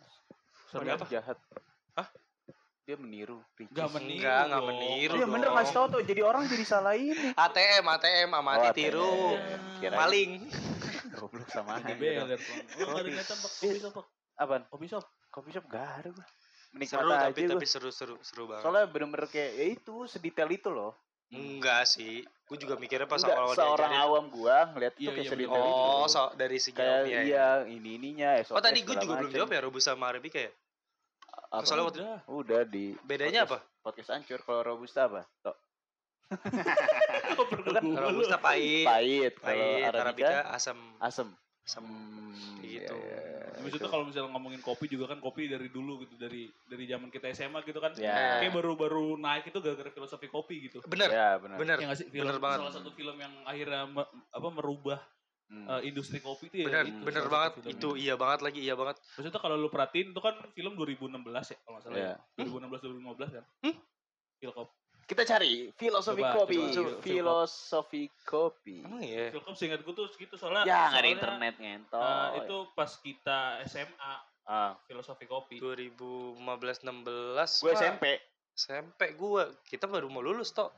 A: Sorry,
B: ada
A: apa?
B: jahat.
C: Hah?
B: Dia meniru. Ricis.
A: Gak meniru.
C: Enggak, enggak
A: dong.
C: meniru
B: Iya bener
C: dong.
B: ngasih tau tuh. Jadi orang jadi salah ini.
C: ATM ATM amati
B: Oh,
C: tiru
B: ATM. Kirain.
C: maling
B: Goblok sama aja.
A: Ada bel.
B: dong.
A: Lu gak Oh, ada niatan pak kopi shop pak.
B: Apaan?
A: Kopi shop.
B: Kopi shop gak ada gua. Menikmat
C: seru
B: aja
C: tapi
B: gua.
C: tapi seru seru seru banget
B: Soalnya bener-bener kayak ya itu sedetail itu loh.
C: enggak sih gue juga mikirnya pas
B: Enggak,
C: awal awal
B: seorang awam gua ngeliat itu
A: Iya,
B: kayak
A: iya,
B: sedetail
A: bener.
B: itu.
C: oh so, dari segi
B: kayak
C: ilmiah ya.
B: iya ini ininya
C: oh tadi gue juga belum jawab ya robusta sama arabica ya Soalnya waktu-
A: Udah.
B: udah di
C: bedanya
B: podcast-
C: apa
B: Podcast hancur kalau robusta apa? Tok,
A: Perlu
B: kan
A: gua
B: [LAUGHS]
A: lu.
C: robusta pahit
B: Pahit kalau
C: Iya. pahit
B: arabica
C: arabica asam
B: asem.
C: asam
B: Hmm,
C: kayak
B: iya,
C: gitu.
B: iya,
A: Habis
B: gitu.
A: itu kalau misalnya ngomongin kopi juga kan kopi dari dulu gitu dari dari zaman kita SMA gitu kan.
B: Ya.
A: Kayak baru-baru naik itu gara-gara filosofi kopi gitu.
C: bener
B: Ya benar.
C: bener
A: Ya nggak sih? Film,
C: Bener banget.
A: Salah satu film yang akhirnya me- apa merubah
B: Hmm.
A: eh, industri kopi itu ya.
C: bener
A: itu,
C: bener
A: salah satu
C: banget
A: filmnya.
C: itu iya banget lagi iya banget
A: Terus itu kalau lu perhatiin itu kan film 2016 ya kalau nggak salah
B: Ya.
A: ya. 2016 2015 kan.
C: Iya. Hmm?
A: Filkop.
B: Kita cari filosofi
A: Coba,
B: kopi,
A: coba, coba.
B: filosofi kopi.
C: emang iya
A: Filkop seingat gue tuh segitu
B: Ya
A: soalnya.
B: nggak ada
A: soalnya,
B: internet ngentot.
C: Oh,
A: eh, itu
C: iya.
A: pas kita SMA
B: Ah,
A: filosofi kopi.
C: 2015 16
B: gue
C: Wah,
B: SMP.
C: SMP gue kita baru mau lulus toh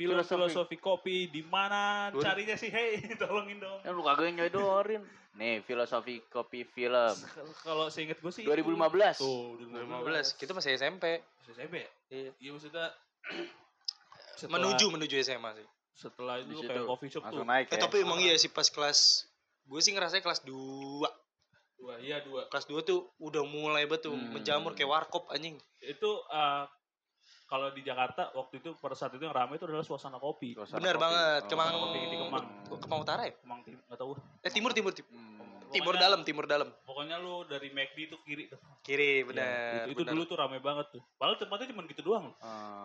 A: Film
B: Filosofi.
A: filosofi kopi di mana
C: Dua-
A: carinya sih? Hei, [LAUGHS] tolongin dong.
B: Ya lu kagak nyodorin. Nih, filosofi kopi film.
A: Kalau seingat gue sih itu.
B: 2015.
A: Tuh,
C: 2015 kita masih SMP
A: Masih SMP ya?
C: Iya.
A: Iya maksudnya [CLEARS THROAT] setelah-
C: menuju menuju SMA sih
A: setelah itu
B: Di
A: lu
B: situ.
A: kayak coffee shop tuh
B: Langsung naik
C: eh,
B: ya.
C: tapi emang
A: Ah.
C: iya sih pas kelas gue sih ngerasanya kelas 2
A: dua iya dua
C: kelas 2 tuh udah mulai betul
B: Hmm.
C: menjamur kayak warkop anjing
A: itu eh, kalau di Jakarta waktu itu pada saat itu yang ramai itu adalah suasana kopi
B: Suasana
C: bener
B: kopi.
C: banget
B: Oh.
C: kemang
A: Kopi di Kemang.
C: Kemang utara ya
A: Kemang tim nggak tahu
C: eh timur timur timur
B: Hmm.
C: timur
A: Pokoknya-
C: dalam timur dalam
A: pokoknya lu dari McD itu kiri tuh. Ya,
C: kiri benar
A: itu, itu dulu tuh ramai banget tuh padahal tempatnya cuma gitu doang loh.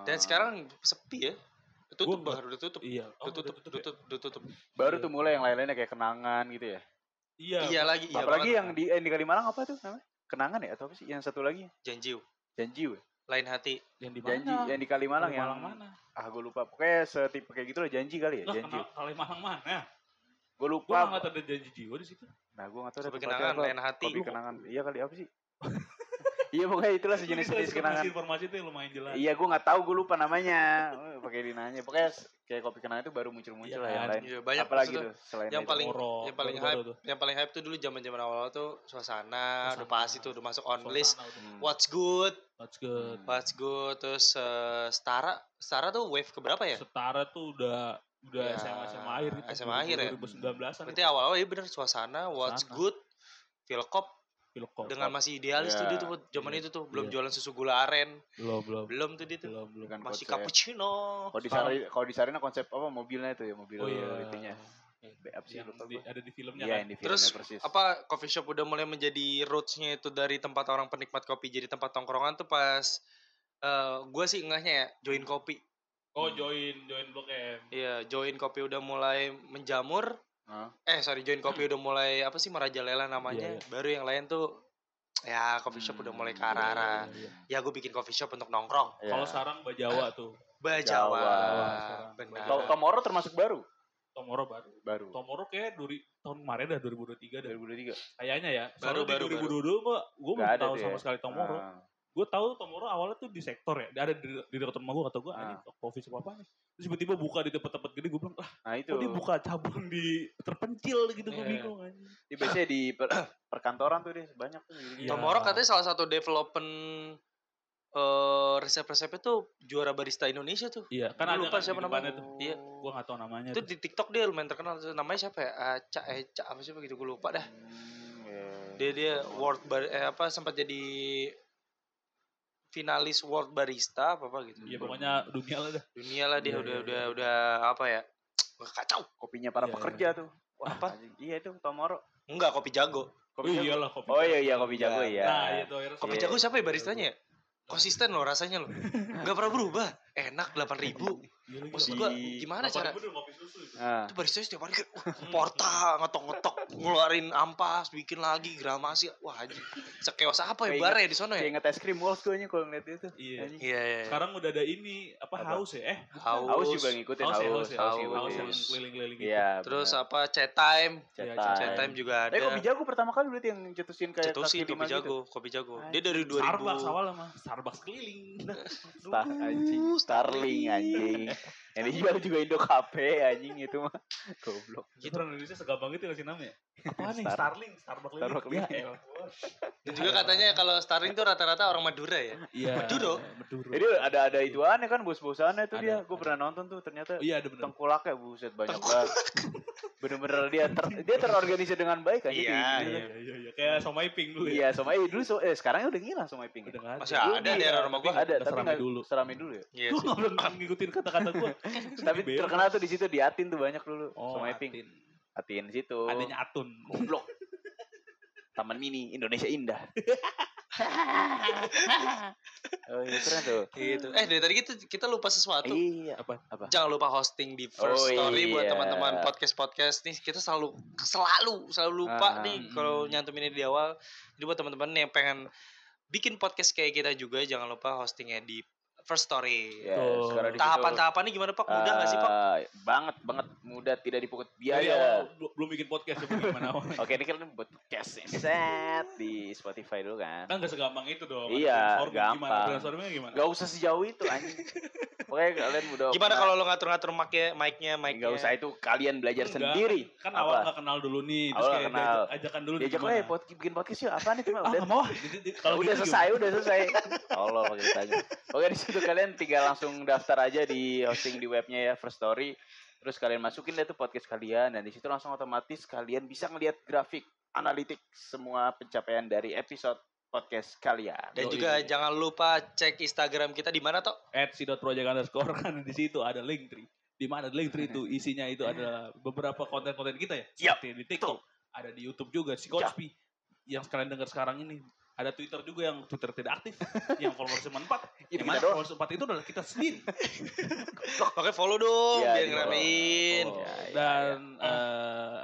C: dan sekarang sepi ya
A: Gua
C: tutup
A: nggak-
C: baru udah tutup
A: iya
C: udah tutup
A: udah
C: udah tutup udah tutup
B: Ah. baru tuh mulai yang lain-lainnya kayak kenangan gitu ya.
A: ya? iya
C: iya lagi iya
B: Apalagi
C: banget.
B: yang di eh, di Kalimalang apa tuh namanya? Kenangan ya atau apa sih? Yang satu lagi
C: janji
B: janji weh.
C: lain hati
A: yang di mana
B: Janji yang di Kalimalang yang
A: Malang mana
B: ah gue lupa pokoknya setipe kayak gitu loh janji kali ya
A: lah
B: janji.
A: kenapa Kali Malang mana
B: Gue
A: nah, gua nggak
B: lupa.
A: ngeliat ada janji jiwa di situ
B: Nah gue nggak tahu ada
C: Kopi
B: tempatnya
C: kenangan
B: apa.
C: lain hati
B: Kopi kenangan. Iya kali apa sih? [LAUGHS] iya pokoknya itulah
A: Jadi
B: sejenis-jenis kenangan.
A: informasi informasi itu yang lumayan jelas
B: Iya, gue nggak tahu, gue lupa namanya. Eh, Pakai dinanya. Pokoknya s- kayak kopi kenangan itu baru muncul-muncul
A: Iya
B: lah yang
A: kan?
B: lain.
C: Iya, banyak
B: Apalagi
C: maksudnya.
B: tuh selain
C: yang
B: itu.
C: paling-
A: Ngorok,
C: yang paling
A: baru-baru tuh.
C: yang paling hype tuh dulu zaman zaman awal tuh suasana, udah
A: Suasana.
C: pasti tuh udah masuk on list Oh.
A: Suasana udah.
B: Hmm.
C: what's good
A: That's good.
B: Hmm.
C: what's good terus eh, setara setara tuh wave keberapa ya
A: Setara tuh udah udah
C: Ya,
A: SMA SMA akhir gitu.
C: SMA akhir ya?
A: 2019 an.
C: berarti awal awal ya bener suasana what's
A: Suasana.
C: good Philcop
A: Filkop.
C: dengan masih idealis tuh
B: Ya,
C: dia tuh zaman
B: iya, Hmm,
C: itu tuh belum
A: iya.
C: jualan susu gula aren
A: belum belum
C: belum tuh dia tuh
A: belum belum.
B: Bukan
C: masih
B: konsep.
C: cappuccino
B: Kalau di Sarina, kalau di Sarina konsep apa mobilnya itu ya, mobil
A: Oh iya.
B: itunya.
A: Iya.
B: Be- Apa sih
A: Yang
B: lupa
A: di-
B: gue.
A: ada di filmnya
B: Iya,
A: kan.
B: yang di
C: Terus,
B: filmnya persis.
C: apa coffee shop udah mulai menjadi rootsnya itu dari tempat orang penikmat kopi jadi tempat tongkrongan tuh pas eh gue sih ngehnya ya join kopi
A: Oh
B: Hmm.
A: join join blok M.
C: Iya, join kopi udah mulai menjamur.
B: Hah?
C: Eh, sorry, join kopi udah mulai apa sih merajalela namanya.
A: Iya, iya.
C: Baru yang lain tuh ya coffee shop udah mulai ke
B: Hmm,
A: Iya,
C: arah-arah.
A: iya, iya.
C: Ya gue bikin coffee shop untuk nongkrong.
B: Iya.
A: Kalau sekarang Bajawa tuh.
B: Jawa.
C: Bajawa.
A: Sekarang.
C: Benar.
B: Tom- Tomorrow termasuk baru.
A: Tomoro baru.
B: Baru.
A: Tomoro kayak duri, tahun kemarin dah 2023 dah.
B: 2023.
A: Kayaknya ya.
C: Baru,
A: Soalnya
C: baru,
A: di 2022 gua gua
B: Nggak
A: belum
B: ada
A: tahu
B: tuh
A: sama
B: ya.
A: sekali Tomoro.
B: Ah.
A: Gue tahu Tomoro awalnya tuh di sektor ya. Ada di, di dekat rumah gue kata gue
B: Ah.
A: anjing coffee shop apa nih. Terus tiba-tiba buka di tempat-tempat gede gue bilang, "Lah,
B: Nah itu.
A: kok Oh, dia buka cabang di terpencil gitu gue
C: Iya.
A: bingung anjing."
B: Di biasanya di per- [CLEARS THROAT] perkantoran tuh deh banyak tuh.
A: Iya.
C: Tomorrow katanya salah satu development eh resep-resepnya tuh juara barista Indonesia tuh.
A: Iya, kan
C: Gua
A: ada
C: lupa
A: kan di
C: siapa
A: depannya
C: namanya.
A: tuh.
C: Iya.
A: Gue gak tahu namanya.
C: Itu
A: tuh.
C: di TikTok dia lumayan terkenal tuh. Namanya siapa ya? Aca, Eca, apa sih begitu gue lupa dah.
A: Hmm, iya.
C: Dia dia world bar eh, apa sempat jadi finalis world barista apa apa gitu.
A: Iya pokoknya dunia lah dah.
C: Dunia lah dia
A: Iya,
C: udah
A: iya,
C: udah udah apa ya? Wah, Kacau.
B: kopinya para
A: Iya,
B: pekerja tuh. Wah,
C: Apa?
B: anjing. Iya itu Tomoro.
C: Enggak kopi jago.
A: Oh iyalah kopi.
B: Oh iya iya kopi jago
C: Nah,
B: iya.
A: Nah, iya tuh akhirnya
C: Kopi
B: Iya.
A: sama-
C: jago siapa ya baristanya? ya? Konsisten loh rasanya
A: [LAUGHS]
C: loh. Enggak pernah berubah. Enak 8000.
A: Iya lagi,
C: Maksud
A: Bang.
C: gua
B: Di-
C: gimana
A: Bapak
C: cara?
A: ibu udah ngopi susu itu.
B: Nah,
C: Itu barista setiap hari kayak "Wah, porta ngetok-ngetok ngeluarin ampas bikin lagi gramasi wah anjing sekeos apa ya
B: Kayak
C: bar ya di sono
B: kayak
C: ya
B: inget es krim walls gue kalau ngeliat itu.
A: Iya.
B: Anjing.
C: iya iya
A: Sekarang udah ada ini apa,
B: Apa?
A: haus ya? Eh,
C: haus,
B: Haus juga ngikutin haus.
A: ya, haus, ya, haus,
C: haus.
A: haus yang
B: ngikutin.
A: keliling-keliling gitu.
B: Iya.
C: terus
B: benar.
C: apa chat time
A: Iya,
B: Cetan.
C: chat time juga ada
B: Eh kopi jago pertama kali berarti yang cetusin kayak
C: Cetusin
B: kaki lima
C: kopi
B: gitu.
C: jago, kopi jago. Dia dari 2000.
A: Starbucks awal mah, Starbucks keliling. [LAUGHS]
B: Star anjing, Starling anjing. Yang dijual juga Indo Cafe anjing itu mah. [LAUGHS] Goblok.
A: Gitu. Orang Indonesia segampang itu ngasih nama ya? Apa nih?
B: Star-
A: Starling, Starbucks keliling.
B: Starbucks keliling.
A: Ya elah.
C: Dan juga katanya kalau Starling tuh rata-rata orang Madura
B: [LAUGHS]
C: ya.
A: Iya.
C: Maduro.
A: Maduro.
B: Jadi ada ada itu aneh kan bos-bosannya tuh
A: Ada,
B: dia. Gue
A: ada.
B: pernah nonton tuh ternyata
A: Oh, Iya, ada benar.
B: tengkulaknya ya, buset banyak banget. Bener-bener dia ter, dia terorganisir dengan baik aja. di
C: Iya,
B: Indo
A: Iya,
B: tuh.
A: iya, iya. Kayak Somai Pink dulu ya.
B: Iya, sama dulu so, eh sekarang udah ngilang sama Iping. ya?
A: Udah nggak
C: Masih ada
A: Iya,
C: daerah rumah gua.
A: tapi
B: Ada,
A: nggak
B: tapi
A: seramai
B: nggak
A: dulu.
B: seramin dulu ya.
C: Iya
A: [LAUGHS] Lu
C: sih.
A: nggak pernah ngikutin kata-kata
C: [LAUGHS]
A: gua.
B: Tapi
A: Beo.
B: terkenal tuh di situ di Atin tuh banyak dulu
A: Oh,
B: sama Oh. Iping.
A: Atin.
B: Atin situ.
A: Adanya Atun.
B: Goblok. Taman Mini Indonesia
A: [LAUGHS]
B: Indah. oh, iya, keren tuh.
C: Gitu. Eh dari tadi kita, kita lupa sesuatu.
B: Iya.
A: Apa?
B: Apa?
C: Jangan lupa hosting di
B: Oh,
C: First Story buat
B: iya.
C: teman-teman podcast-podcast nih. Kita selalu selalu selalu lupa
B: Ah,
C: nih
A: mm.
C: kalau nyantuminnya di awal. Jadi buat teman-teman yang pengen bikin podcast kayak kita juga jangan lupa hostingnya di First Story.
B: Ya,
A: Tuh.
B: sekarang di situ,
C: Tahapan-tahapannya gimana Pak? Mudah nggak sih Pak?
B: ah, Banget banget muda tidak dipungut
A: Jadi
B: biaya.
A: awal bel- belum bikin podcast apa
B: [LAUGHS]
A: gimana awalnya?
B: Oke, ini kan buat podcast nih. set di Spotify dulu kan.
A: Kan gak segampang itu dong. ada
B: Iya,
A: brainstorming. Gimana
B: gampang.
A: brainstormingnya gimana?
B: Gak usah sejauh itu anjing. Pokoknya kalian udah
C: Gimana kalau lo ngatur-ngatur mic-nya, mic-nya, mic-nya?
B: Gak Ah, usah itu kalian belajar
A: Enggak,
B: sendiri.
A: Kan
B: Apa?
A: awal gak kenal dulu nih. Terus
B: Awal
A: kayak
B: kenal.
A: diajak- ajakan dulu. nih
B: Diajak
A: gimana.
B: "Eh, pod, bikin podcast yuk. Apaan itu?
A: Ah,
B: Udah,
A: nggak mau. ah. Jadi- jadi Kalau
B: udah
A: gitu
B: selesai, udah selesai. Allah pakai ditanya. Oke di situ kalian tinggal langsung daftar aja di hosting di webnya ya First Story. Terus kalian masukin deh tuh podcast kalian dan di situ langsung otomatis kalian bisa ngelihat grafik analitik semua pencapaian dari episode podcast kalian.
A: Yoi.
C: Dan juga jangan lupa cek Instagram kita di mana toh?
A: at si.project underscore [LAUGHS] kan di situ ada link tree. Di mana link
B: [LAUGHS]
A: tree itu isinya itu ada beberapa konten-konten kita ya.
B: Yap,
A: Seperti di TikTok, ada di YouTube juga si
B: Iya.
A: Coachpi yang kalian dengar sekarang ini. Ada Twitter juga yang Twitter tidak
B: [LAUGHS]
A: aktif, yang followers cuma 4.
B: Itu Iya,
A: Yang mana
B: kita doang.
A: followers 4 itu adalah kita sendiri.
C: Pakai follow dong
B: Iya, di
C: biar
B: follow.
C: ngeramein.
B: Follow. Ya, ya,
A: Dan eh,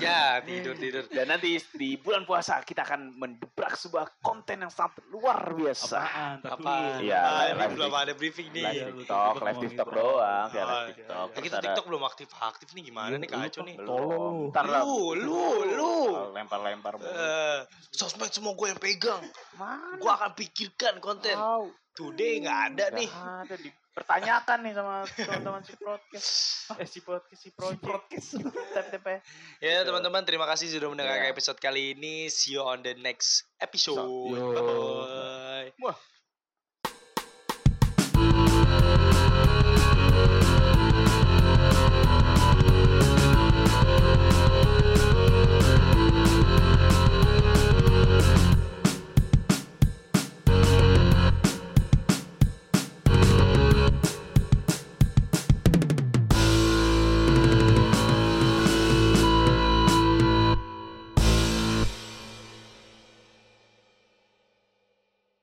C: Ya, tidur-tidur.
B: Dan nanti di bulan puasa kita akan mendobrak sebuah konten yang sangat luar biasa.
A: apaan? Ntar
C: Apa?
A: dulu.
B: Iya,
C: Ah, ini
B: live
C: belum
B: di-
C: ada briefing nih.
A: iya,
B: Live
A: lu
B: TikTok,
A: tiba-tiba
B: live
A: ngomong
B: TikTok
A: gitu.
B: doang, kayak
C: Oh,
B: live
C: iya,
B: TikTok.
C: Ya,
B: Terus
C: kita
B: ada- Iya,
C: TikTok belum aktif-aktif nih gimana nih kacau nih.
A: Tolong.
B: Belum. Ntar lah.
C: Lu, lu, lu.
B: Lempar-lempar.
C: Eh, sosmed semua gue yang pegang.
B: Mana?
C: Gue akan pikirkan konten.
B: Tahu.
C: Today nggak ada
B: Nggak
C: nih.
B: Ada dipertanyakan nih sama teman-teman si podcast. Eh si podcast si project. Tep tep eh.
C: Ya
B: Gitu.
C: teman-teman terima kasih sudah mendengarkan
B: Iya.
C: episode kali ini. See you on the next episode.
A: Yo.
C: Bye-bye.